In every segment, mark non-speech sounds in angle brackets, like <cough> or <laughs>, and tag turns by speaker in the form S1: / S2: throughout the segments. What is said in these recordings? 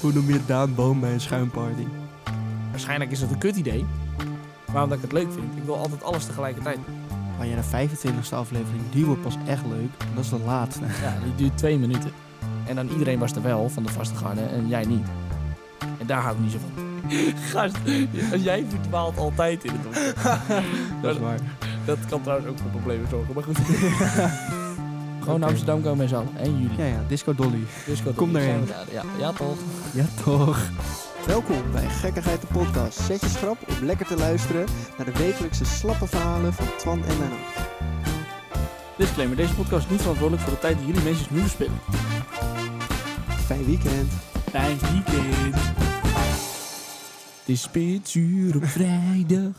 S1: Hoe noem je Daan Boom bij een schuimparty?
S2: Waarschijnlijk is dat een kut idee. Maar omdat ik het leuk vind. Ik wil altijd alles <laughs> tegelijkertijd.
S1: Maar ja, de 25e aflevering, die wordt pas echt leuk. Dat is de laatste.
S2: Ja, die duurt twee minuten. En dan iedereen was er wel van de vaste garde en jij niet. En daar hou ik niet zo van. <laughs> Gast, jij verdwaalt altijd in het
S1: <laughs> Dat is waar.
S2: <laughs> Dat kan trouwens ook voor problemen zorgen, maar goed. <laughs> Gewoon naar Amsterdam komen met z'n allen. En jullie.
S1: Ja, ja, Disco Dolly.
S2: Dus
S1: Kom daarheen.
S2: Ja, ja, toch.
S1: Ja, toch.
S3: Welkom bij Gekkigheid de Podcast. Zet je schrap om lekker te luisteren naar de wekelijkse slappe verhalen van Twan en Menno.
S2: Disclaimer, deze podcast is niet verantwoordelijk voor de tijd die jullie mensen nu verspillen.
S3: Fijn weekend.
S2: Fijn weekend. Het is spitsuur op vrijdag.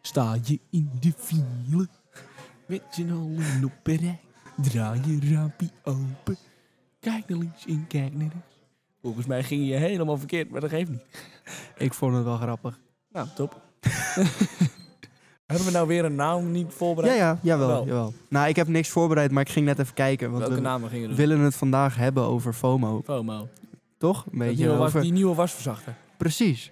S2: Sta je in de file. Met z'n allen op een rij. Draai je raampje open. Kijk naar links en kijk naar rechts. Volgens mij ging je helemaal verkeerd, maar dat geeft niet.
S1: Ik vond het wel grappig.
S2: Nou, top. <laughs> Hebben we nou weer een naam niet
S1: Ja,
S2: voorbereid?
S1: ja, jawel,
S2: Wel.
S1: jawel. Nou, ik heb niks voorbereid, maar ik ging net even kijken. Want
S2: Welke
S1: we
S2: namen gingen we doen?
S1: willen het vandaag hebben over FOMO.
S2: FOMO.
S1: Toch? Een
S2: Dat
S1: beetje
S2: nieuwe was,
S1: over...
S2: die nieuwe wasverzachter.
S1: Precies.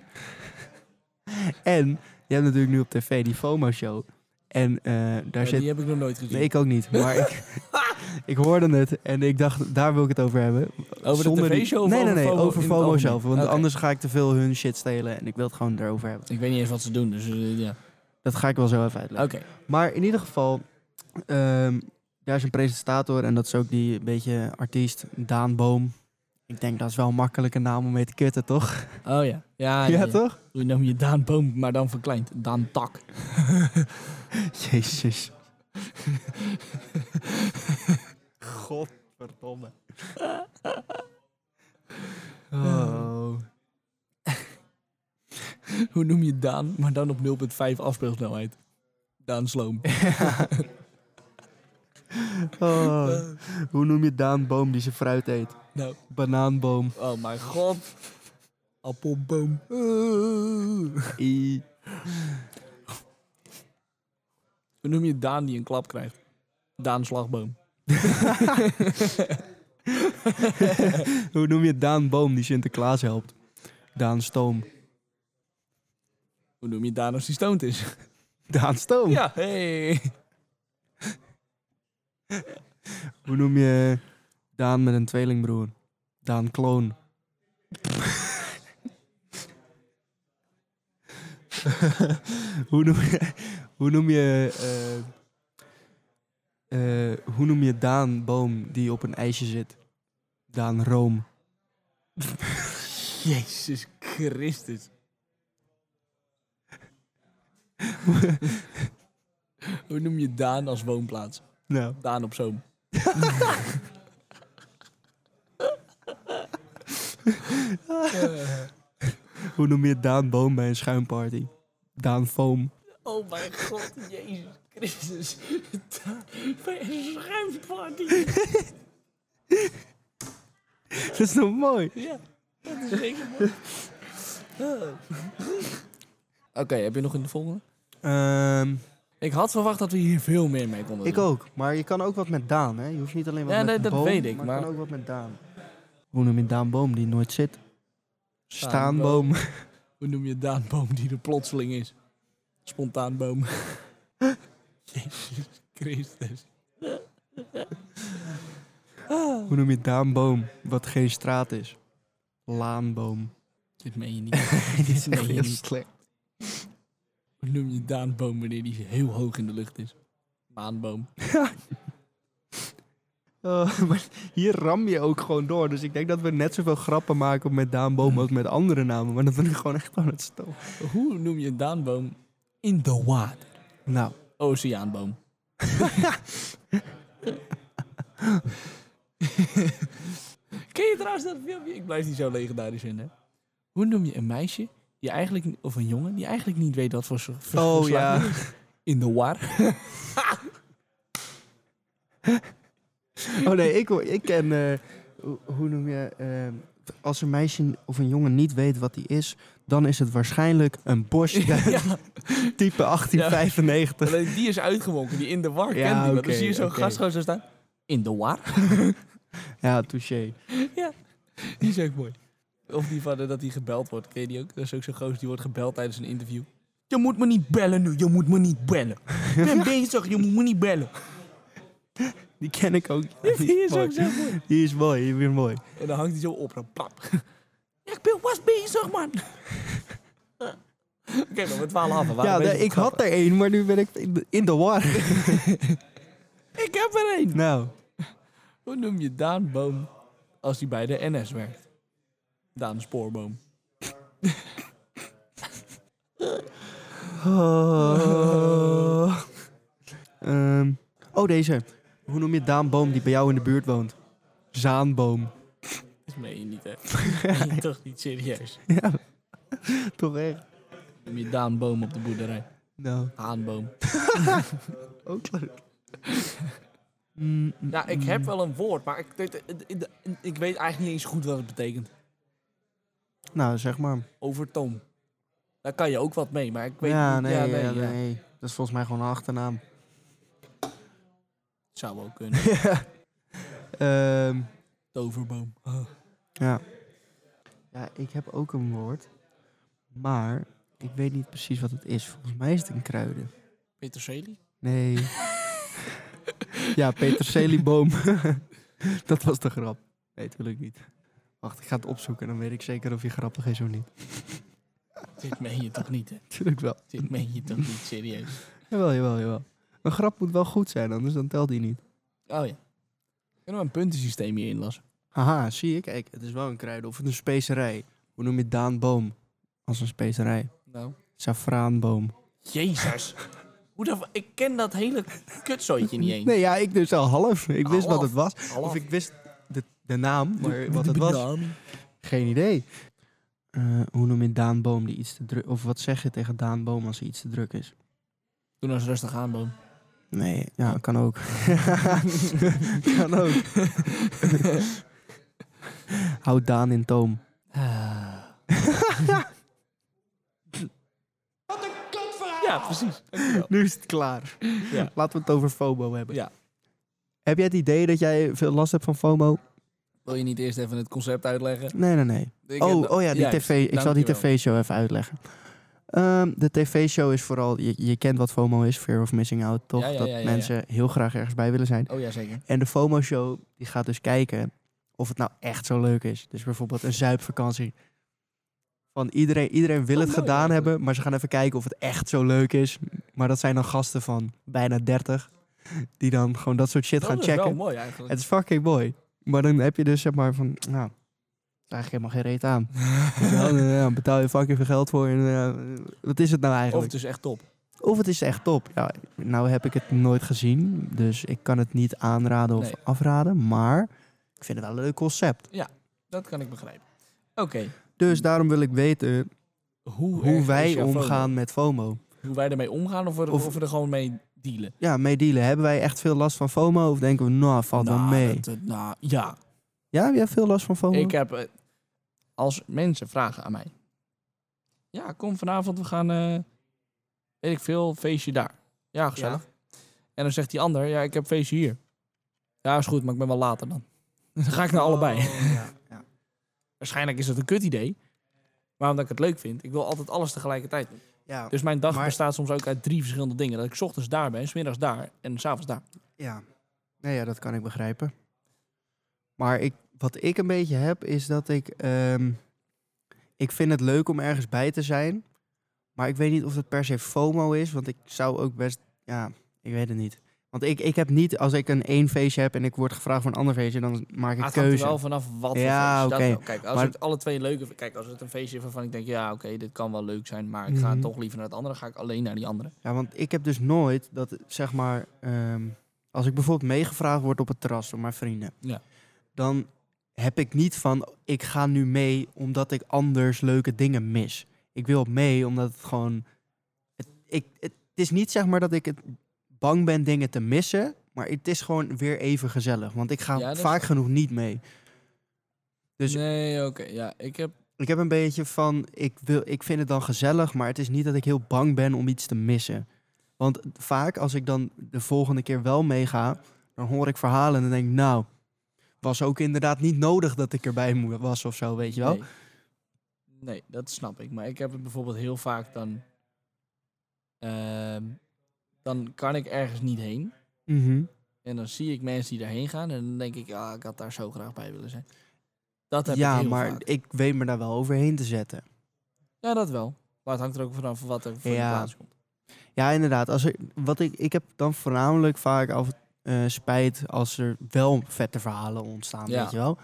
S1: en je hebt natuurlijk nu op tv die FOMO-show. En eh, daar
S2: Ja,
S1: zit...
S2: Die heb ik nog nooit gezien.
S1: Nee, ik ook niet. Maar ik,
S2: <laughs>
S1: ik hoorde het en ik dacht, daar wil ik het over hebben.
S2: over de
S1: Zonder die-
S2: tv-show of
S1: Nee, nee, nee,
S2: over
S1: over,
S2: FOMO, in het
S1: FOMO
S2: algemeen?
S1: zelf. Want
S2: Oké.
S1: anders ga ik te veel hun shit stelen en ik wil het gewoon erover hebben.
S2: Ik weet niet eens wat ze doen, dus eh, ja.
S1: Dat ga ik wel zo even
S2: Oké.
S1: uitleggen. Maar in ieder geval, ehm, daar is een presentator en dat is ook die beetje artiest, Daan Boom. Ik denk dat is wel een makkelijke naam om mee te kutten, toch?
S2: Oh ja. Ja,
S1: Ja,
S2: ja, ja.
S1: toch?
S2: Hoe noem je Daan Boom, maar dan verkleind? Daan Tak.
S1: Jezus. Godverdomme. Oh.
S2: Hoe noem je Daan, maar dan op 0,5 afspeelsnelheid? Daan <laughs> Sloom.
S1: Oh. Hoe noem je Daan Boom die zijn fruit eet?
S2: Nou,
S1: Banaanboom.
S2: oh mijn god. <laughs> Appelboom.
S1: I.
S2: Hoe noem je Daan die een klap krijgt? Daan Slagboom.
S1: Hoe noem je Daan Boom die Sinterklaas helpt? Daan Stoom.
S2: Hoe noem je Daan als die stoned is?
S1: Daan Stoom.
S2: Ja, hey.
S1: Hoe noem je Daan met een tweelingbroer? Daan Kloon. <laughs> hoe noem je, hoe noem je, eh, eh, hoe noem je Daan Boom die op een ijsje zit? Daan Room.
S2: Jezus <laughs> Christus. Hoe noem je Daan als woonplaats?
S1: Nou,
S2: Daan op Zoom.
S1: hoe noem je Daan Boom bij een schuimparty? Daan Foam.
S2: Oh mijn god, Jezus Christus. Daan Bij een schuimparty.
S1: <laughs> Dat is nog mooi.
S2: Ja, dat is zeker mooi. Oké, heb je nog een volgende?
S1: Ehm,
S2: Ik had verwacht dat we hier veel meer mee konden
S1: ik
S2: doen.
S1: ook, maar je kan ook wat met Daan, hè? Je hoeft niet alleen wat
S2: Ja,
S1: met
S2: nee, dat
S1: Boom,
S2: weet ik,
S1: je
S2: maar-
S1: kan ook wat met Daan. Hoe noem je Daan Boom die nooit zit?
S2: Staanboom.
S1: Staanboom.
S2: Hoe noem je Daanboom die er plotseling is? Spontaanboom. <laughs> Jezus Christus.
S1: <laughs> Hoe noem je Daanboom wat geen straat is?
S2: <laughs>
S1: Laanboom.
S2: Dit meen je
S1: <laughs>
S2: niet.
S1: Dit
S2: is echt heel
S1: slecht.
S2: Hoe noem je Daanboom wanneer die heel hoog in de lucht is? Maanboom.
S1: Oh, <laughs> maar hier ram je ook gewoon door. Dus ik denk dat we net zoveel grappen maken met
S2: <laughs>
S1: Daanboom als met andere namen. Maar dat we nu gewoon echt aan het stoom.
S2: Hoe noem je Daanboom in de water?
S1: Nou,
S2: Oceaanboom. <laughs> Ken je trouwens dat filmpje? Ik blijf die zo legendarisch vinden. Hoe noem je een meisje die eigenlijk, of een jongen die eigenlijk niet weet wat voor soort
S1: Oh,
S2: geslacht
S1: ja.
S2: het is? In
S1: <laughs>
S2: de war.
S1: oh nee, ik, hoor- ik ken... eh, hoe- hoe noem je... ehm, als een meisje of een jongen niet weet wat hij is... dan is het waarschijnlijk een <laughs> Bosch
S2: <laughs> ja,
S1: type 1895.
S2: alleen die is uitgewonken, die in de war
S1: Ja,
S2: kent die. wel.
S1: oké,
S2: dan zie je zo'n
S1: oké.
S2: gast gewoon zo staan.
S1: <laughs>
S2: In de war?
S1: Ja, touché.
S2: Die is ook mooi. Of die van eh, dat hij gebeld wordt. Ken je die ook? Dat is ook zo'n goos die wordt gebeld tijdens een interview. Je moet me niet bellen nu, je moet me
S1: <laughs>
S2: niet bellen. Ik ben bezig, je moet me niet bellen.
S1: Die ken ik
S2: <laughs>
S1: ook.
S2: Die is
S1: mooi.
S2: ook zo mooi.
S1: Die is mooi, die is weer mooi.
S2: En dan hangt hij zo op en pap. Ja, ik ben was bezig, man. <laughs> Oké, dan we twaalf af.
S1: ja, nee, ik had er één, maar nu ben ik in de, in de war. <laughs>
S2: Ik heb er één.
S1: nou,
S2: Hoe noem je Daan Boom als hij bij de NS werkt? Daan Spoorboom.
S1: Oh. Ehm, oh, deze. Hoe noem je Daanboom die bij jou in de buurt woont? Zaanboom.
S2: Dat meen je niet, <laughs> hè? Dat meen je toch niet serieus.
S1: ja, toch echt?
S2: Noem je Daan Boom op de boerderij.
S1: Nou,
S2: Haanboom.
S1: ook leuk. Mm, mm,
S2: Nou, ik heb wel een woord, maar ik, weet- eh, ik, ik weet eigenlijk niet eens goed wat het betekent.
S1: nou, zeg maar.
S2: Overtoom. Daar kan je ook wat mee, maar ik weet
S1: ja,
S2: niet.
S1: nee,
S2: ja,
S1: ja, nee,
S2: ja.
S1: Dat is volgens mij gewoon een
S2: <laughs>
S1: achternaam.
S2: Zou ook kunnen.
S1: Ehm,
S2: Toverboom. Oh.
S1: ja. Ja, ik heb ook een woord. Maar ik weet niet precies wat het is. Volgens mij is het een kruiden.
S2: Peterselie? <laughs>
S1: Nee. ja, Peterselieboom. <laughs> dat was de grap. Nee, natuurlijk niet. Wacht, ik ga het opzoeken. Dan weet ik zeker of je grappig is of niet. <laughs>
S2: Dit meen je toch niet, hè?
S1: Natuurlijk wel.
S2: Dit meen je toch niet, serieus?
S1: Jawel, jawel, jawel. Een grap moet wel goed zijn, anders dan telt die niet.
S2: Oh ja. Kunnen we een puntensysteem hier inlassen?
S1: Haha, zie je? Kijk, het is wel een kruiden of een specerij. Hoe noem je Daanboom als een specerij?
S2: Nou.
S1: Safraanboom.
S2: Jezus. Hoe dat, ik ken dat hele kutzooitje niet eens.
S1: Nee, ja, ik dus al half. Ik wist wat het was.
S2: Hallo.
S1: Of ik wist de, de naam, maar wat het was. Geen idee. Eh, hoe noem je Daan Boom die iets te druk... Of wat zeg je tegen Daan Boom als hij iets te druk is?
S2: Doe nou eens rustig aan,
S1: <laughs>
S2: boom.
S1: Nee, ja, kan <laughs> ook. kan <laughs> ook. Houd Daan in toom.
S2: Ja, precies. Dankjewel.
S1: Nu is het klaar.
S2: Ja.
S1: Laten we het over FOMO hebben.
S2: Ja.
S1: Heb jij het idee dat jij veel last hebt van FOMO?
S2: Wil je niet eerst even het concept uitleggen?
S1: Nee, nee, nee.
S2: Ik heb dat-
S1: Oh, oh ja, die
S2: Juist,
S1: tv. Ik zal die
S2: dankjewel.
S1: tv-show even uitleggen. Ehm, de tv-show is vooral... Je, je kent wat FOMO is, Fear of Missing Out, toch?
S2: Ja, ja,
S1: dat
S2: ja, ja, ja.
S1: mensen heel graag ergens bij willen zijn.
S2: Oh ja, zeker.
S1: En de FOMO-show die gaat dus kijken of het nou echt zo leuk is. Dus bijvoorbeeld een zuipvakantie. Van iedereen, iedereen wil
S2: Oh,
S1: het
S2: mooi
S1: gedaan
S2: eigenlijk.
S1: hebben, maar ze gaan even kijken of het echt zo leuk is. Maar dat zijn dan gasten van bijna 30, die dan gewoon dat soort shit
S2: Oh,
S1: gaan
S2: dat is wel
S1: checken.
S2: mooi eigenlijk.
S1: Het is fucking mooi. Maar dan heb je dus zeg maar van, nou, het is eigenlijk helemaal geen reet
S2: <laughs>
S1: aan. Dan ja, betaal je fucking veel geld voor en ja, wat is het nou
S2: Of
S1: eigenlijk?
S2: het is echt top.
S1: Of Oh, het is echt top. Ja, nou heb ik het nooit gezien, dus ik kan het niet aanraden of
S2: Nee.
S1: afraden. Maar ik vind het wel een leuk concept.
S2: Dat kan ik begrijpen. Oké.
S1: Dus daarom wil ik weten
S2: Hm. Hoe, erg
S1: hoe
S2: is
S1: wij
S2: jouw FOMO?
S1: omgaan met FOMO.
S2: Hoe wij ermee omgaan of we, er-
S1: Of-
S2: of we er gewoon mee dealen?
S1: Ja, mee dealen. Hebben wij echt veel last van FOMO of denken we, nou, valt wel
S2: Nou,
S1: mee? Oh.
S2: dat- dat- nou, ja,
S1: Ja, heb jij veel last van FOMO?
S2: Ik heb, eh, als mensen vragen aan mij. Ja, kom vanavond, we gaan, eh, weet ik veel, feestje daar. Ja, gezellig. En dan zegt die ander, ja, ik heb feestje hier. Ja, is goed, maar ik ben wel later dan. <laughs> Dan ga ik naar <laughs> allebei.
S1: Oh, ja, ja.
S2: Waarschijnlijk is dat een kut idee. Maar omdat ik het leuk vind, ik wil altijd alles tegelijkertijd doen.
S1: Ja,
S2: Dus mijn dag
S1: Maar-
S2: bestaat soms ook uit drie verschillende dingen. Dat ik 's ochtends daar ben, 's middags daar en 's avonds daar.
S1: Ja. Nee, ja, dat kan ik begrijpen. Maar ik, wat ik een beetje heb, is dat ik... ehm, ik vind het leuk om ergens bij te zijn. Maar ik weet niet of dat per se FOMO is. Want ik zou ook best... Ja, ik weet het niet. Want ik, ik heb niet... Als ik een één feestje heb en ik word gevraagd voor een ander feestje... dan maak ik
S2: Ah, Het hangt er
S1: keuze.
S2: wel vanaf wat voor
S1: Ja,
S2: feest. Dat
S1: oké.
S2: wel. Kijk, als
S1: Maar-
S2: het alle twee leuke... Kijk, als het een feestje is waarvan ik denk... Ja, oké, dit kan wel leuk zijn, maar ik ga
S1: Mhm.
S2: toch liever naar het andere. ga ik alleen naar die andere.
S1: Ja, want ik heb dus nooit dat, zeg maar, ehm, als ik bijvoorbeeld meegevraagd word op het terras door mijn vrienden,
S2: Ja.
S1: dan heb ik niet van, ik ga nu mee omdat ik anders leuke dingen mis. Ik wil mee omdat het gewoon, het, ik, het, het is niet zeg maar dat ik het bang ben dingen te missen, maar het is gewoon weer even gezellig, want ik ga
S2: Ja, dat is
S1: vaak genoeg niet mee. Dus-
S2: Nee, oké. ja, ik heb...
S1: Ik heb een beetje van, ik, wil, ik vind het dan gezellig, maar het is niet dat ik heel bang ben om iets te missen. Want vaak als ik dan de volgende keer wel meega, dan hoor ik verhalen en dan denk ik, nou, was ook inderdaad niet nodig dat ik erbij mo- was of zo, weet je wel.
S2: nee. Nee, dat snap ik. Maar ik heb het bijvoorbeeld heel vaak dan... ehm, dan kan ik ergens niet heen.
S1: Mhm.
S2: En dan zie ik mensen die daarheen gaan. En dan denk ik, ja, ik had daar zo graag bij willen zijn. Dat heb ik
S1: Ja,
S2: heel
S1: maar
S2: vaak.
S1: ik weet me daar wel overheen te zetten.
S2: Ja, dat wel. Maar het hangt er ook vanaf wat er voor
S1: Ja.
S2: de plaats komt.
S1: Ja, inderdaad. Als er, wat ik, ik heb dan voornamelijk vaak af, eh, spijt als er wel vette verhalen ontstaan,
S2: Ja.
S1: weet je wel?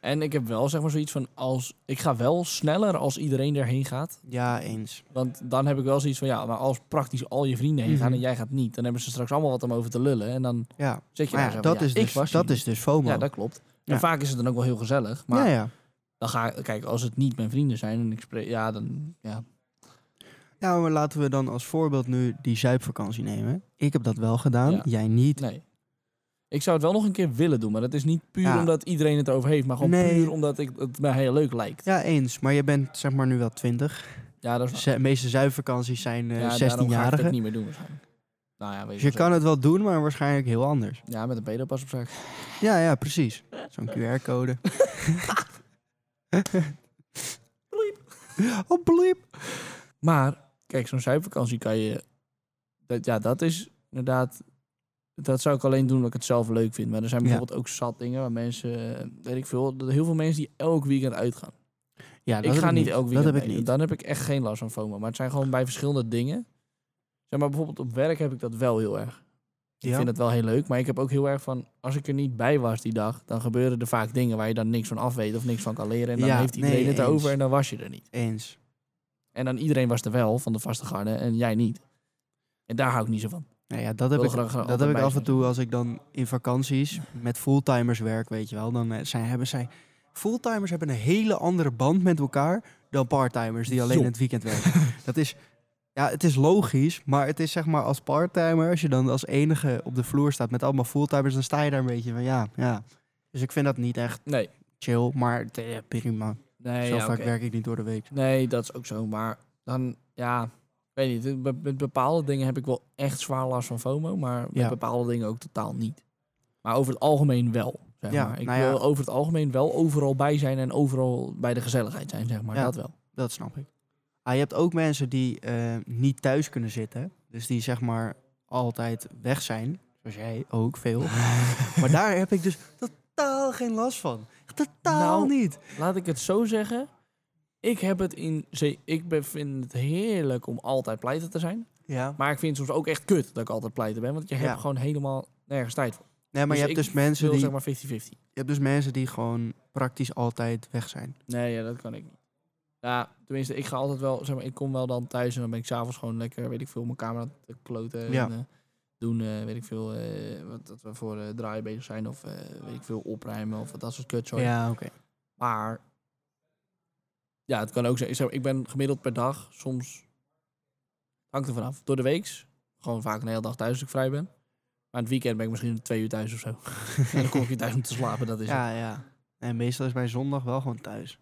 S2: En ik heb wel zeg maar zoiets van, als, ik ga wel sneller als iedereen erheen gaat.
S1: Ja, eens.
S2: Want dan heb ik wel zoiets van, ja, maar als praktisch al je vrienden heen gaan
S1: Mhm.
S2: en jij gaat niet. Dan hebben ze straks allemaal wat om over te lullen. En dan
S1: Ja,
S2: zit je
S1: maar
S2: daar
S1: ja,
S2: zo van,
S1: dat, is
S2: ik
S1: dus,
S2: was hier
S1: dat
S2: niet.
S1: is dus FOMO.
S2: Ja, dat klopt.
S1: Ja.
S2: En vaak is het dan ook wel heel gezellig. Maar
S1: ja, ja.
S2: dan ga ik, kijk, als het niet mijn vrienden zijn en ik spreek, ja, dan, ja.
S1: Ja, Nou, maar laten we dan als voorbeeld nu die zuipvakantie nemen. Ik heb dat wel gedaan,
S2: Ja.
S1: jij niet.
S2: Nee. Ik zou het wel nog een keer willen doen, maar dat is niet puur
S1: Ja.
S2: omdat iedereen het erover heeft, maar gewoon
S1: Nee.
S2: puur omdat ik, het mij heel leuk lijkt. Ja,
S1: Ja, eens. Maar je bent zeg maar nu wel 20.
S2: dat is
S1: Ze- De meeste zuipvakanties zijn eh,
S2: ja, daarom ga ik
S1: 16-jarigen.
S2: het niet meer doen waarschijnlijk. Nou ja, weet
S1: Dus
S2: je
S1: je
S2: wel
S1: kan het wel doen, maar waarschijnlijk heel anders.
S2: zeker. Ja, met een pedopas op zak.
S1: Ja, ja, precies. Zo'n
S2: <laughs>
S1: QR-code. oh, bliep.
S2: Maar, kijk, zo'n zuipvakantie kan je... Dat, ja, dat is inderdaad... Dat zou ik alleen doen omdat ik het zelf leuk vind. Maar er zijn
S1: Ja.
S2: bijvoorbeeld ook zat dingen waar mensen... eh, Weet ik veel, dat er heel veel mensen die elk weekend uitgaan.
S1: Ja, dat
S2: ik
S1: heb
S2: ga niet elk weekend
S1: Dat heb ik
S2: mee.
S1: niet.
S2: Dan heb ik echt geen last van FOMO. Maar het zijn gewoon bij verschillende dingen. Zeg maar bijvoorbeeld op werk heb ik dat wel heel erg. Ik
S1: Ja.
S2: vind het wel heel leuk. Maar ik heb ook heel erg van... Als ik er niet bij was die dag... Dan gebeuren er vaak dingen waar je dan niks van af weet. Of niks van kan leren. En dan
S1: Ja,
S2: heeft iedereen
S1: nee,
S2: het
S1: eens.
S2: over. En dan was je er niet.
S1: Eens.
S2: En dan iedereen was er wel van de vaste garde en jij niet. En daar hou ik niet zo van.
S1: Nou ja, dat heb
S2: Wil
S1: ik,
S2: er graag eh,
S1: dat
S2: altijd
S1: heb ik
S2: bij
S1: af en
S2: zijn.
S1: toe als ik dan in vakanties met fulltimers werk, weet je wel. Dan eh, zijn, hebben zij... Fulltimers hebben een hele andere band met elkaar dan parttimers die alleen
S2: Joh.
S1: in het weekend
S2: <laughs>
S1: werken. dat is... Ja, het is logisch, maar het is zeg maar als parttimer, als je dan als enige op de vloer staat met allemaal fulltimers, dan sta je daar een beetje van ja, ja. Dus ik vind dat niet echt
S2: Nee.
S1: chill, maar het, eh, prima.
S2: Nee,
S1: Zo
S2: ja,
S1: vaak
S2: oké.
S1: werk ik niet door de week.
S2: nee, dat is ook zo. Maar dan, ja, ik weet niet. eh, be- Met bepaalde dingen heb ik wel echt zwaar last van FOMO. Maar met
S1: Ja.
S2: bepaalde dingen ook totaal niet. Maar over het algemeen wel. Zeg
S1: Ja,
S2: maar. Ik
S1: nou ja.
S2: wil over het algemeen wel overal bij zijn en overal bij de gezelligheid zijn, zeg maar.
S1: Ja.
S2: Dat wel.
S1: Dat snap ik. Ah, je hebt ook mensen die eh, niet thuis kunnen zitten. Dus die zeg maar altijd weg zijn. Zoals jij ook
S2: <laughs>
S1: veel. maar daar heb ik dus totaal geen last van. Totaal
S2: Nou.
S1: niet.
S2: Laat ik het zo zeggen. Ik heb het in. ze- Ik be- vind het heerlijk om altijd pleiten te zijn.
S1: Ja.
S2: Maar ik vind het soms ook echt kut dat ik altijd pleiten ben. Want je
S1: Ja.
S2: hebt gewoon helemaal nergens tijd voor.
S1: Nee, maar
S2: Dus
S1: je, hebt
S2: ik
S1: dus mensen
S2: wil
S1: die,
S2: zeg maar 50-50.
S1: je hebt dus mensen die gewoon praktisch altijd weg zijn.
S2: Nee, ja, dat kan ik niet. Ja, tenminste, ik ga altijd wel, zeg maar, ik kom wel dan thuis en dan ben ik s'avonds gewoon lekker, weet ik veel, mijn camera te kloten.
S1: Ja.
S2: En, eh, doen, eh, weet ik veel, eh, wat dat we voor eh draaien bezig zijn of, eh, weet ik veel, opruimen of dat soort kutzooi.
S1: Ja, oké.
S2: Maar, ja, het kan ook zijn. Ik, zeg maar, ik ben gemiddeld per dag, soms, hangt er vanaf, door de weeks, gewoon vaak een hele dag thuis als ik vrij ben. Maar aan het weekend ben ik misschien twee uur thuis of zo. <laughs> en dan kom ik weer thuis om te slapen, dat is het.
S1: Ja, ja. En meestal is mijn zondag wel gewoon thuis.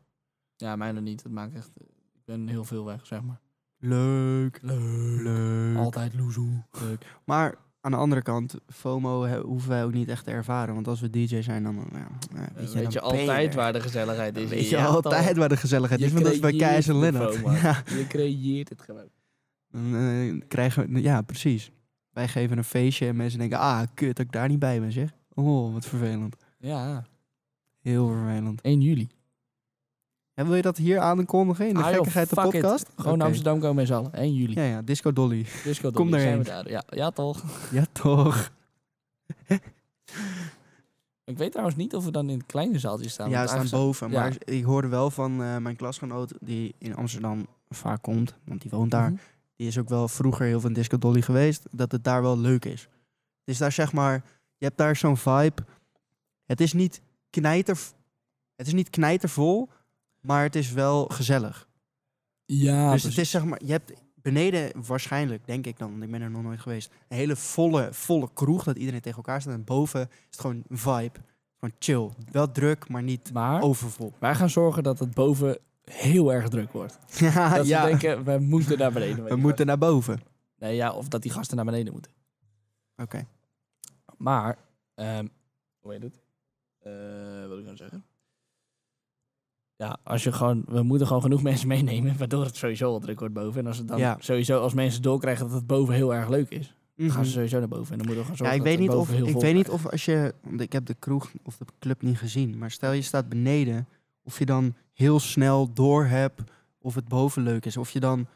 S2: Ja, mijne niet. Het maakt echt. Ik ben heel veel weg, zeg maar.
S1: Leuk. Leuk.
S2: Altijd loezoe.
S1: Leuk. Maar aan de andere kant, FOMO he- hoeven wij ook niet echt te ervaren. Want als we DJ zijn, dan ja, ja, weet,
S2: Eh, Weet je,
S1: je, dan ben je
S2: altijd
S1: er.
S2: waar de gezelligheid is.
S1: Dan weet je
S2: hebt
S1: altijd waar de gezelligheid
S2: Je
S1: is. Want dat is bij
S2: creëert
S1: Kees en
S2: de
S1: Lennart.
S2: FOMO.
S1: Ja,
S2: al- Je creëert het gewoon.
S1: dan, eh, krijgen we, ja, precies. Wij geven een feestje en mensen denken... Ah, kut dat ik daar niet bij ben, zeg. Oh, wat vervelend.
S2: Ja,
S1: Heel vervelend.
S2: 1 juli.
S1: En wil je dat hier aankondigen in de
S2: Ah, joh,
S1: gekkigheid de
S2: fuck it.
S1: podcast?
S2: Gewoon
S1: Oké.
S2: naar Amsterdam komen met z'n allen. 1 juli.
S1: Ja, ja, Disco Dolly. <laughs>
S2: Disco
S1: Kom
S2: Dolby, zijn we
S1: daarheen.
S2: daar. Ja, ja, toch.
S1: ja, toch.
S2: Ik weet trouwens niet of we dan in het kleine zaaltje staan.
S1: Ja,
S2: want
S1: we staan
S2: aangezien-
S1: boven.
S2: ja.
S1: Maar ik hoorde wel van eh, mijn klasgenoot die in Amsterdam vaak komt. Want die woont daar.
S2: Mhm.
S1: die is ook wel vroeger heel veel in Disco Dolly geweest, dat het daar wel leuk is. Het is daar zeg maar, je hebt daar zo'n vibe. Het is niet, knijter, het is niet knijtervol, maar het is wel gezellig.
S2: Ja,
S1: dus het
S2: precies.
S1: is zeg maar, je hebt beneden waarschijnlijk, denk ik dan, want ik ben er nog nooit geweest, een hele volle, volle kroeg dat iedereen tegen elkaar staat. En boven is het gewoon een vibe, gewoon chill. Wel druk, maar niet
S2: Maar
S1: overvol.
S2: wij gaan zorgen dat het boven heel erg druk wordt.
S1: <laughs> ja,
S2: Dat we denken, we moeten
S1: <laughs>
S2: naar beneden. weet
S1: we
S2: je
S1: moeten naar boven. Oké.
S2: wel. Nee, ja, of dat die gasten naar beneden moeten. Maar, ehm, hoe heet het? Eh, wat wil ik nou zeggen? Ja, als je gewoon, we moeten gewoon genoeg <laughs> mensen meenemen, waardoor het sowieso al druk wordt boven. En als het dan
S1: Ja.
S2: sowieso, als mensen doorkrijgen dat het boven heel erg leuk is, dan gaan ze
S1: Mhm.
S2: sowieso naar boven. En dan moeten we gaan
S1: Ja,
S2: zorgen
S1: ik
S2: dat
S1: weet,
S2: het
S1: niet of,
S2: boven heel
S1: ik
S2: vol
S1: weet niet
S2: krijgt.
S1: of als je... Want ik heb de kroeg of de club niet gezien. Maar stel je staat beneden. Of je dan heel snel door hebt of het boven leuk is. Of je dan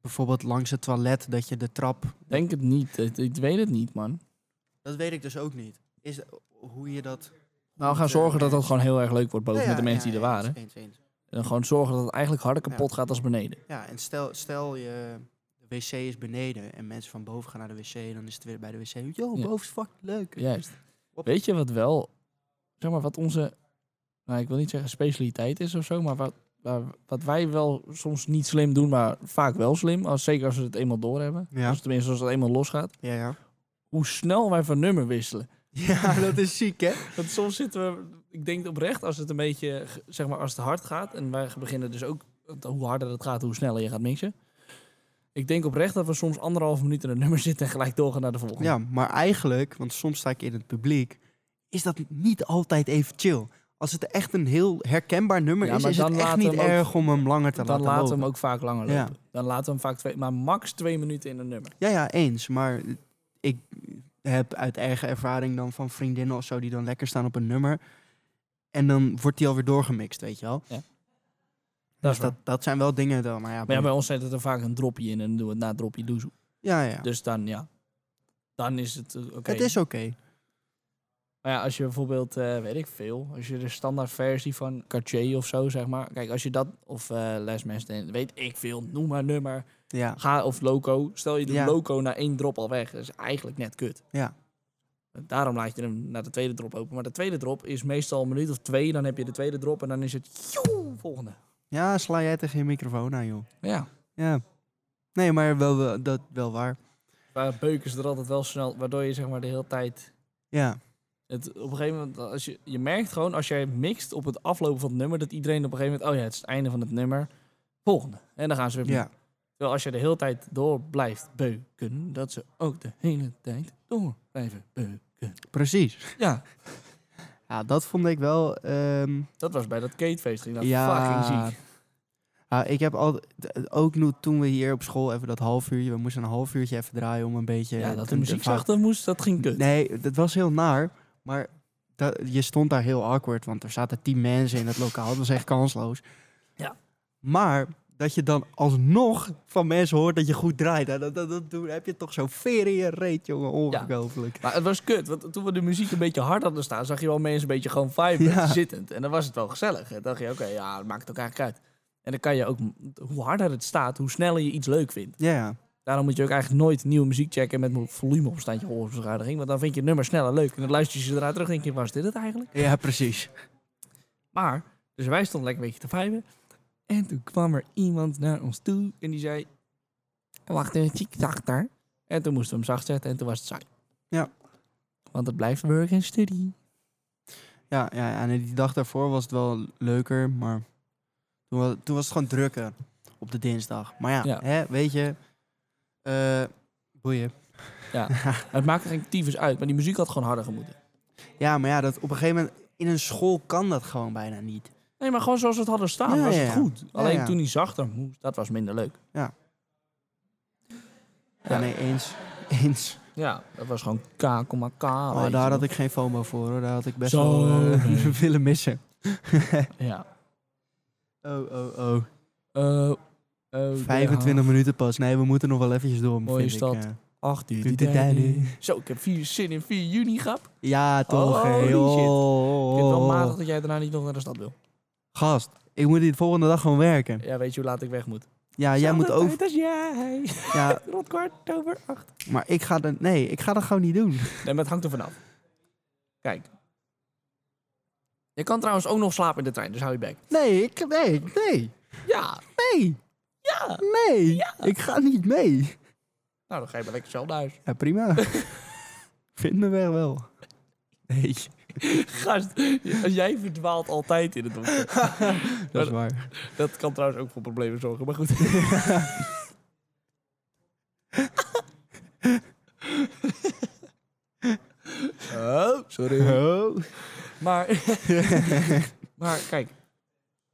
S1: bijvoorbeeld langs het toilet dat je de trap...
S2: Ik denk het niet. Ik, ik weet het niet, man.
S1: Dat weet ik dus ook niet. Is hoe je dat...
S2: Nou, we gaan
S1: eh,
S2: zorgen dat dat gewoon heel erg leuk wordt boven
S1: Ja,
S2: met de
S1: ja,
S2: mensen
S1: ja,
S2: die er
S1: ja,
S2: waren.
S1: eens, eens, eens.
S2: En dan gewoon zorgen dat het eigenlijk harder kapot gaat als beneden.
S1: Ja, en stel, stel je... De wc is beneden en mensen van boven gaan naar de wc. Dan is het weer bij de wc. Yo,
S2: Ja.
S1: boven is fucking leuk.
S2: Juist.
S1: Hop.
S2: Weet je wat wel, zeg maar, wat onze, nou, ik wil niet zeggen specialiteit is of zo, maar wat, waar- wat wij wel soms niet slim doen, maar vaak wel slim, als, zeker als we het eenmaal doorhebben.
S1: Ja.
S2: Als, tenminste, als het eenmaal losgaat.
S1: Ja, ja. <laughs>
S2: Hoe snel wij van nummer wisselen.
S1: Ja, dat is ziek, hè?
S2: Want soms zitten we, ik denk oprecht, als het een beetje, g- zeg maar, als het hard gaat, en wij beginnen dus ook, want hoe harder het gaat, hoe sneller je gaat mixen. Ik denk oprecht dat we soms anderhalve minuut in een nummer <laughs> zitten en gelijk doorgaan naar de volgende.
S1: Ja, maar eigenlijk, want soms sta ik in het publiek, is dat niet altijd even chill. Als het echt een heel herkenbaar nummer
S2: Ja,
S1: is,
S2: maar
S1: is het
S2: dan
S1: echt
S2: laten we
S1: niet
S2: hem ook-
S1: erg om hem langer te
S2: dan
S1: laten
S2: laten we
S1: lopen.
S2: hem ook vaak langer lopen.
S1: Ja.
S2: Dan laten we hem vaak twee, maar max twee minuten in een nummer.
S1: Ja, ja, eens. Maar ik heb uit eigen ervaring dan van vriendinnen of zo die dan lekker staan op een nummer. En dan wordt die alweer doorgemixt, weet je wel.
S2: Dat
S1: Dus dat, dat zijn wel dingen dan. Maar ja,
S2: Maar ja, bij ons zet het er vaak een dropje in en dan doen we het na het dropje doezoe.
S1: ja, ja.
S2: Dus dan ja, dan is het eh, oké.
S1: Het is oké.
S2: Maar ja, als je bijvoorbeeld, eh, weet ik veel, als je de standaard versie van Cartier of zo, zeg maar. Kijk, als je dat, of eh Les Mensen, weet ik veel, noem maar nummer.
S1: Ja.
S2: Ga of Loco. Stel je doet
S1: Ja.
S2: Loco na één drop al weg. Dat is eigenlijk net kut.
S1: Ja.
S2: Daarom laat je hem naar de tweede drop open. Maar de tweede drop is meestal een minuut of twee. Dan heb je de tweede drop en dan is het... joe, volgende.
S1: ja, sla jij tegen je microfoon aan, joh.
S2: Ja.
S1: Ja. Nee, maar wel, wel- dat wel waar.
S2: Maar beuken ze er altijd wel snel, waardoor je zeg maar de hele tijd...
S1: Ja.
S2: Het, op een gegeven moment, als je, je merkt gewoon als jij mixt op het aflopen van het nummer, dat iedereen op een gegeven moment, oh ja, het is het einde van het nummer, volgende. En dan gaan ze weer
S1: Ja.
S2: ja. Terwijl als je de hele tijd door blijft beuken, dat ze ook de hele tijd door blijven beuken.
S1: Precies.
S2: Ja,
S1: Ja, dat vond ik wel. ehm,
S2: dat was bij dat Katefeest, ging dat
S1: Ja.
S2: fucking ziek.
S1: ah, ik heb al, ook nu, toen we hier op school even dat half uurtje, we moesten een half uurtje even draaien om een beetje.
S2: Ja, dat
S1: te-
S2: de muziek
S1: te-
S2: zachter moest, dat ging kut.
S1: Nee, dat was heel naar, maar dat, je stond daar heel awkward, want er zaten tien mensen in het lokaal. Dat was echt kansloos.
S2: Ja.
S1: Maar dat je dan alsnog van mensen hoort dat je goed draait, hè, dat, dat, dat, doe- heb je toch zo'n veer in je reet, jongen, ongelooflijk.
S2: Maar het was kut, want toen we de muziek een beetje hard hadden staan, zag je wel mensen een beetje gewoon viben,
S1: Ja.
S2: zittend. En dan was het wel gezellig. En dan dacht je, oké, ja, dat maakt het ook eigenlijk uit. En dan kan je ook, hoe harder het staat, hoe sneller je iets leuk vindt.
S1: Ja, ja.
S2: Daarom moet je ook eigenlijk nooit nieuwe muziek checken met mijn volume op standje hoorverschadiging. Want dan vind je het nummer sneller leuk. En dan luister je ze eruit terug en denk je, was dit het eigenlijk?
S1: Ja, precies.
S2: Maar, dus wij stonden lekker een beetje te viben. En toen kwam er iemand naar ons toe en die zei, wacht even, chick zachter. En toen moesten we hem zacht zetten en toen was het saai.
S1: Ja.
S2: Want het blijft work and study.
S1: Ja, ja, ja, en die dag daarvoor was het wel leuker, maar toen was, toen was het gewoon drukker op de dinsdag. Maar ja,
S2: Ja.
S1: Hè, weet je, eh, boeien.
S2: Ja. Het maakte geen tyfus uit, maar die muziek had gewoon harder gemoeten.
S1: Ja, maar ja, dat op een gegeven moment in een school kan dat gewoon bijna niet.
S2: Nee, maar gewoon zoals we het hadden staan
S1: Ja,
S2: was
S1: ja,
S2: het
S1: ja.
S2: goed. Alleen
S1: ja.
S2: toen die zachter moest, dat was minder leuk.
S1: Ja,
S2: Ja.
S1: nee, eens. Eens.
S2: Ja, dat was gewoon k, komma k. Ah, weet
S1: Oh,
S2: je
S1: daar
S2: nog.
S1: had ik geen FOMO voor hoor, daar had ik best
S2: Zo,
S1: wel eh,
S2: nee.
S1: <laughs> willen missen.
S2: Ja.
S1: oh, oh, oh.
S2: Eh, eh,
S1: 25 minuten pas. Nee, we moeten nog wel eventjes door.
S2: Mooie
S1: vind ik,
S2: stad.
S1: eh.
S2: Acht uur.
S1: Du- du- du- du.
S2: Zo, ik heb vier zin in 4 juni, grap. Ik
S1: Ja, toch.
S2: Oh, Holy
S1: hè, Oh,
S2: shit.
S1: joh.
S2: vind het wel
S1: Oh.
S2: matig dat jij daarna niet nog naar de stad wil.
S1: Gast, ik moet die volgende dag gewoon werken.
S2: Ja, weet je hoe laat ik weg moet?
S1: Ja, jij moet ook.
S2: Dat jij.
S1: Ja,
S2: Rond kwart over acht.
S1: maar ik ga dat. Nee, ik ga dat gewoon niet doen.
S2: Nee, maar het hangt er vanaf. Kijk. Je kan trouwens ook nog slapen in de trein, dus hou je bek.
S1: Nee, ik. Nee, nee,
S2: Ja.
S1: nee,
S2: Ja.
S1: nee. Ik ga niet mee.
S2: Nou, dan ga je maar lekker zelf naar huis.
S1: Ja, prima. <laughs> Vind me weg wel. Nee,
S2: Gast, jij verdwaalt altijd in het donker.
S1: dat is waar.
S2: Dat kan trouwens ook voor problemen zorgen, maar
S1: <laughs>
S2: goed. oh, sorry.
S1: Oh. Eh, <laughs>
S2: Maar, maar kijk,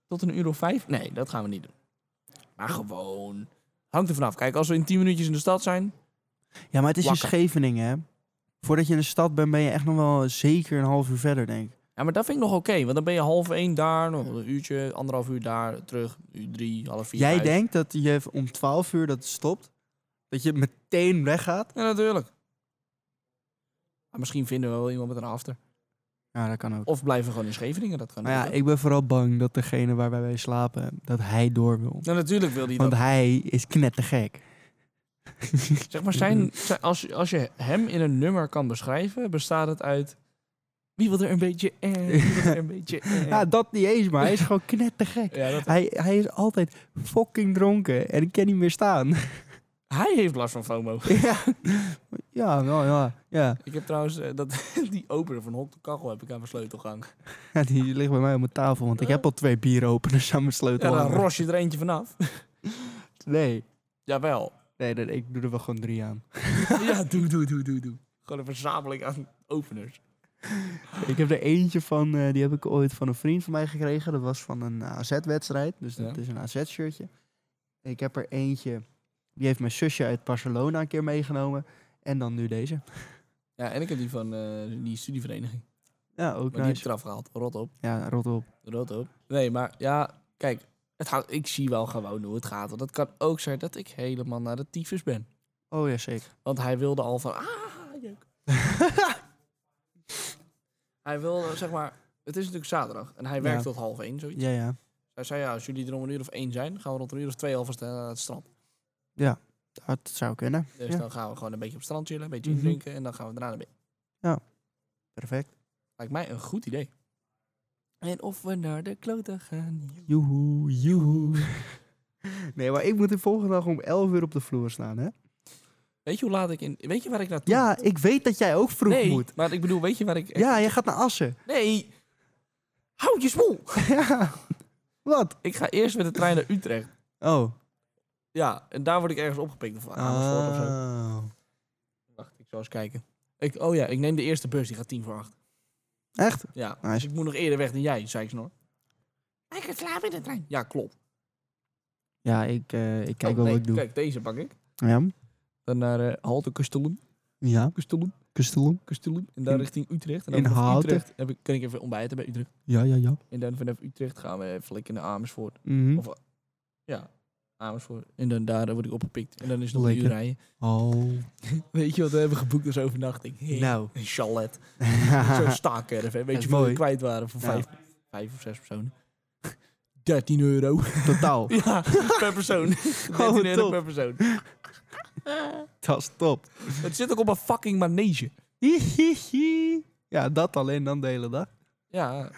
S2: Tot een uur of vijf? Nee, dat gaan we niet doen. Maar gewoon. Hangt er vanaf. Kijk, als we in tien minuutjes in de stad zijn.
S1: Ja, maar het is in
S2: Wakker.
S1: Scheveningen, hè? Voordat je in de stad bent, ben je echt nog wel zeker een half uur verder, denk ik.
S2: Ja, maar dat vind ik nog oké. want dan ben je half één daar, nog een uurtje, anderhalf uur daar, terug, uur drie, half vier.
S1: Jij
S2: huis.
S1: denkt dat je om 12 uur dat het stopt, dat je meteen weggaat?
S2: Ja, natuurlijk. Maar misschien vinden we wel iemand met een after.
S1: Ja, dat kan ook.
S2: Of blijven we gewoon in Scheveningen, dat kan
S1: Maar ja,
S2: natuurlijk.
S1: ik ben vooral bang dat degene waarbij wij slapen, dat hij door wil.
S2: Nou, natuurlijk wil die dat.
S1: Want hij is knettergek.
S2: <laughs> Zeg maar, zijn,
S1: Mm-hmm.
S2: zijn- als, als je hem in een nummer kan beschrijven, bestaat het uit... Wie wil er een beetje air, wie wil
S1: <laughs>
S2: er een beetje air.
S1: <laughs> Ja, dat niet eens, maar hij is gewoon knettergek.
S2: Ja, dat-
S1: Hij, hij is altijd fucking dronken en ik kan niet meer staan.
S2: Hij heeft last van FOMO.
S1: <laughs>
S2: <laughs>
S1: ja, ja, wel, ja, ja.
S2: Ik heb trouwens eh, dat, <laughs> die opener van Hok de Kachel heb ik aan mijn sleutelgang.
S1: Ja, Die ligt bij mij op mijn tafel, want ik heb al twee dus bieropeners aan mijn
S2: Ja,
S1: sleutel.
S2: dan
S1: hangen.
S2: ros je er eentje vanaf. <laughs>
S1: Nee, <laughs>
S2: Jawel.
S1: nee dat, ik doe er wel gewoon drie aan.
S2: Ja, doe, doe, doe, doe, doe. Gewoon een verzameling aan openers.
S1: Ik heb er eentje van, eh, die heb ik ooit van een vriend van mij gekregen. Dat was van een eh, AZ-wedstrijd, dus dat
S2: Ja.
S1: is een AZ-shirtje. Ik heb er eentje, die heeft mijn zusje uit Barcelona een keer meegenomen. En dan nu deze.
S2: Ja, en ik heb die van eh, die studievereniging. Maar
S1: Ja, ook
S2: die heb ik
S1: nice.
S2: eraf gehaald. Rot op.
S1: Ja, rot op.
S2: Rot op. Nee, maar ja, kijk. Het houdt, ik zie wel gewoon hoe het gaat. Want het kan ook zijn dat ik helemaal naar de tyfus ben.
S1: Oh ja, zeker.
S2: Want hij wilde al van... Ah, jeuk. <laughs> hij wilde, zeg maar... Het is natuurlijk zaterdag. En hij werkt
S1: Ja.
S2: tot half één, zoiets.
S1: Ja, ja.
S2: Hij zei, ja, als jullie er om een uur of één zijn... gaan we rond een uur of twee alvast eh, naar het strand.
S1: Dat zou kunnen.
S2: Dus
S1: Ja.
S2: dan gaan we gewoon een beetje op het strand chillen. Een beetje
S1: Mhm.
S2: drinken. En dan gaan we daarna naar bed.
S1: Perfect.
S2: Lijkt mij een goed idee. En of we naar de kloten gaan.
S1: Joehoe, joehoe. <laughs> nee, maar ik moet de volgende dag om 11 uur op de vloer staan, hè?
S2: Weet je hoe laat ik in... Weet je waar ik naartoe
S1: Ja, ik weet dat jij ook vroeg
S2: nee,
S1: moet.
S2: maar ik bedoel, weet je waar ik...
S1: Ja, jij gaat naar Assen. <laughs>
S2: Nee! Houd je smoel!
S1: ja. Wat?
S2: ik ga eerst met de trein naar Utrecht.
S1: Oh.
S2: Ja, en daar word ik ergens opgepikt.
S1: Ah.
S2: Of Amersfoort of zo.
S1: Oh.
S2: Wacht, ik zal eens kijken. Ik, oh ja, ik neem de eerste bus. Die gaat tien voor acht.
S1: Echt?
S2: Ja,
S1: Nice.
S2: dus ik moet nog eerder weg dan jij, zei ik snor. Maar ik ga slapen in de trein. Ja, klopt.
S1: Ja, ik, eh, ik kijk
S2: Oh,
S1: wel
S2: nee,
S1: wat ik doe.
S2: Kijk, deze pak ik.
S1: Ja?
S2: Dan naar eh Halte Kastelen.
S1: Ja.
S2: Kastelen.
S1: Kustelum?
S2: Kastelen. En dan
S1: In-
S2: richting Utrecht. En
S1: in
S2: dan vanaf
S1: Houten.
S2: Utrecht heb ik, kan ik even ontbijten bij Utrecht.
S1: Ja, ja, ja.
S2: En dan vanaf Utrecht gaan we even lekker naar Amersfoort.
S1: Mhm.
S2: Of- Ja, Amersfoort. En dan daar word ik opgepikt. En dan is het nog een
S1: Lekker.
S2: uur rijden.
S1: Oh.
S2: Weet je wat we hebben geboekt dus als overnachting? <laughs>
S1: Nou.
S2: Een chalet. Zo'n staakerf. hè. Weet
S1: is
S2: je wat we
S1: mooi.
S2: kwijt waren voor
S1: Ja.
S2: vijf, vijf of zes personen? <laughs>
S1: <laughs>
S2: 13 euro.
S1: Totaal.
S2: ja, per <laughs> persoon. 13 euro
S1: top.
S2: per persoon.
S1: Dat is top.
S2: Het zit ook op een fucking manege.
S1: ja, dat alleen dan de hele dag.
S2: Ja,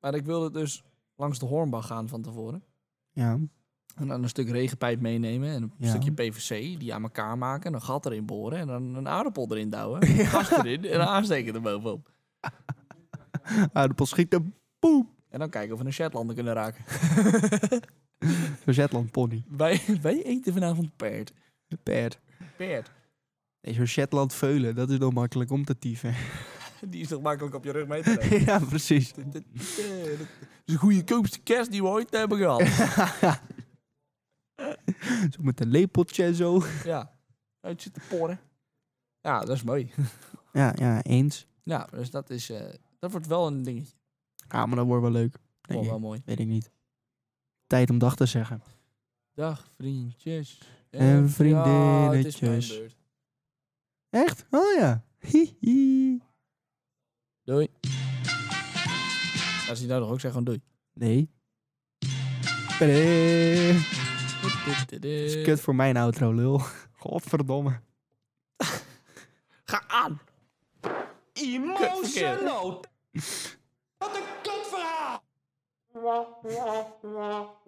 S2: maar ik wilde dus langs de Hornbach gaan van tevoren.
S1: Ja.
S2: En dan een stuk regenpijp meenemen en een
S1: Ja.
S2: stukje PVC die aan elkaar maken. En een gat erin boren en dan een aardappel
S1: <laughs>
S2: erin douwen. een Gas erin en een aansteken erbovenop.
S1: Aardappel schieten. Boem.
S2: En dan kijken of we een Shetlander kunnen
S1: <laughs>
S2: raken.
S1: Zo'n Shetland pony.
S2: Wij, wij eten vanavond paard.
S1: Paard.
S2: Paard.
S1: Nee, zo'n Shetland veulen. Dat is nog makkelijk om te tieven. <laughs>
S2: Die is toch makkelijk op je rug mee te nemen.
S1: ja, <laughs> precies.
S2: Dat is een goede koopste kerst die we ooit hebben <laughs> gehad.
S1: Zo met een lepeltje en zo.
S2: ja, het zit te porren. Ja, dat is mooi.
S1: Ja, ja, eens.
S2: Ja, dus dat is... eh, dat wordt wel een dingetje.
S1: Ja, maar dat wordt wel leuk. Denk
S2: Wordt
S1: ik.
S2: Oh, wel mooi.
S1: Weet ik niet. Tijd om dag te zeggen.
S2: Dag vriendjes.
S1: En
S2: Ja, het is mijn
S1: vriendinnetjes.
S2: beurt.
S1: Echt? Oh ja. Hihi.
S2: Doei. Als hij nou nog ook zegt, gewoon doei.
S1: Nee. Tada. Dat is
S2: Skut.
S1: kut voor mijn outro, lul. Godverdomme.
S2: Ga aan. Emotional. Wat een kutverhaal.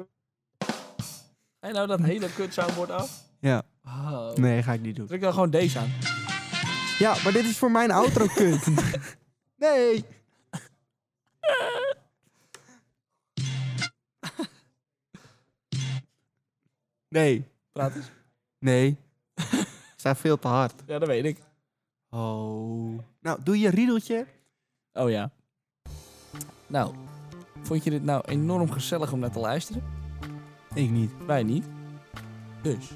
S2: Hij nou dat hele kut soundboard af.
S1: Ja,
S2: Oh.
S1: nee, ga ik niet doen.
S2: Druk dan gewoon deze aan.
S1: Ja, maar dit is voor mijn outro, kut. Nee. Nee.
S2: Praat eens.
S1: Nee. Staat veel te hard.
S2: Ja, dat weet ik.
S1: Oh. Nou, doe je riedeltje.
S2: Oh ja. Nou, Vond je dit nou enorm gezellig om naar te luisteren?
S1: Ik niet.
S2: Wij niet. Dus.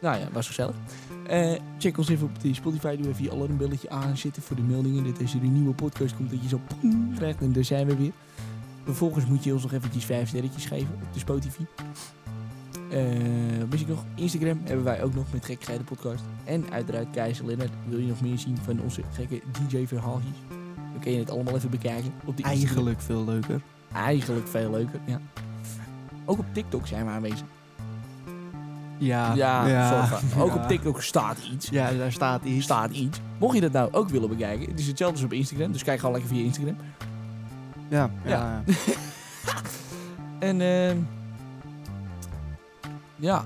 S2: Nou ja, was gezellig. Eh, check ons even op de Spotify. Doe even je alarmbelletje aanzetten voor de meldingen. Dat als er een nieuwe podcast komt, dat je zo poem krijgt. En daar zijn we weer. Vervolgens moet je ons nog eventjes vijf sterretjes geven op de Spotify. Eh, wat mis ik nog? Instagram hebben wij ook nog met Gekkigheid de podcast. En uiteraard Keizer Lennart. Wil je nog meer zien van onze gekke DJ-verhaaltjes? Dan kun je het allemaal even bekijken op de Instagram
S1: Eigenlijk veel leuker.
S2: eigenlijk veel leuker. Ja. Ook op TikTok zijn we aanwezig.
S1: Ja,
S2: ja, soort van.
S1: Ja.
S2: Ook op TikTok staat iets.
S1: Ja, daar staat
S2: Hier
S1: iets.
S2: staat iets. Mocht je dat nou ook willen bekijken, het is hetzelfde als op Instagram. Dus kijk gewoon lekker via Instagram.
S1: Ja, ja.
S2: Ja. En ehm ja,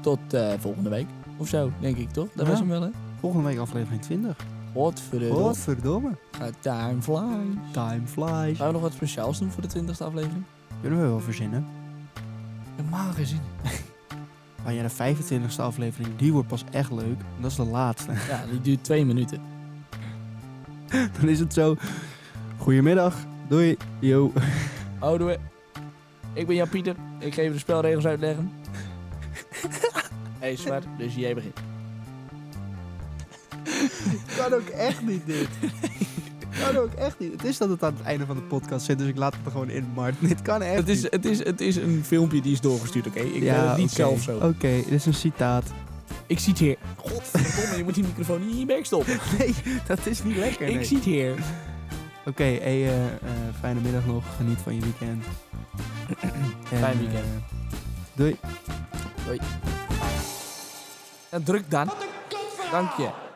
S2: tot eh, volgende week of zo, denk ik toch? Dat
S1: Ja.
S2: was hem wel, hè?
S1: Volgende week aflevering 20.
S2: Godverdomme.
S1: Godverdomme.
S2: Gaat Time flies.
S1: Time flies.
S2: Gaan we nog wat speciaals doen voor de 20e aflevering?
S1: Kunnen we wel verzinnen.
S2: Normaal gezien.
S1: Maar ja, de 25e aflevering, die wordt pas echt leuk. En Dat is de laatste. <laughs>
S2: Ja, die duurt twee minuten.
S1: Dan is het zo. Goedemiddag. Doei. Yo.
S2: Houden we. Ik ben Jan Pieter. Ik ga even de spelregels
S1: <laughs>
S2: uitleggen. hey, zwart, dus jij begint.
S1: Kan ook echt niet dit. Kan ook echt niet. Het is dat het aan het einde van de podcast zit, dus ik laat het er gewoon in, Mart. Dit kan echt
S2: Het is,
S1: niet.
S2: het, is, het is een filmpje die is doorgestuurd, oké? Ik ben het niet
S1: oké. Oh.
S2: zelf zo.
S1: Oké, dit is een citaat.
S2: Ik zie hier. Godverdomme, je moet die microfoon niet in je bek stoppen.
S1: Nee, dat is niet lekker.
S2: Ik zie hier.
S1: Oké, hey, eh, eh, fijne middag nog. Geniet van je weekend. <clears throat> En,
S2: Fijn weekend.
S1: eh, doei.
S2: Ja, druk dan. Dank je.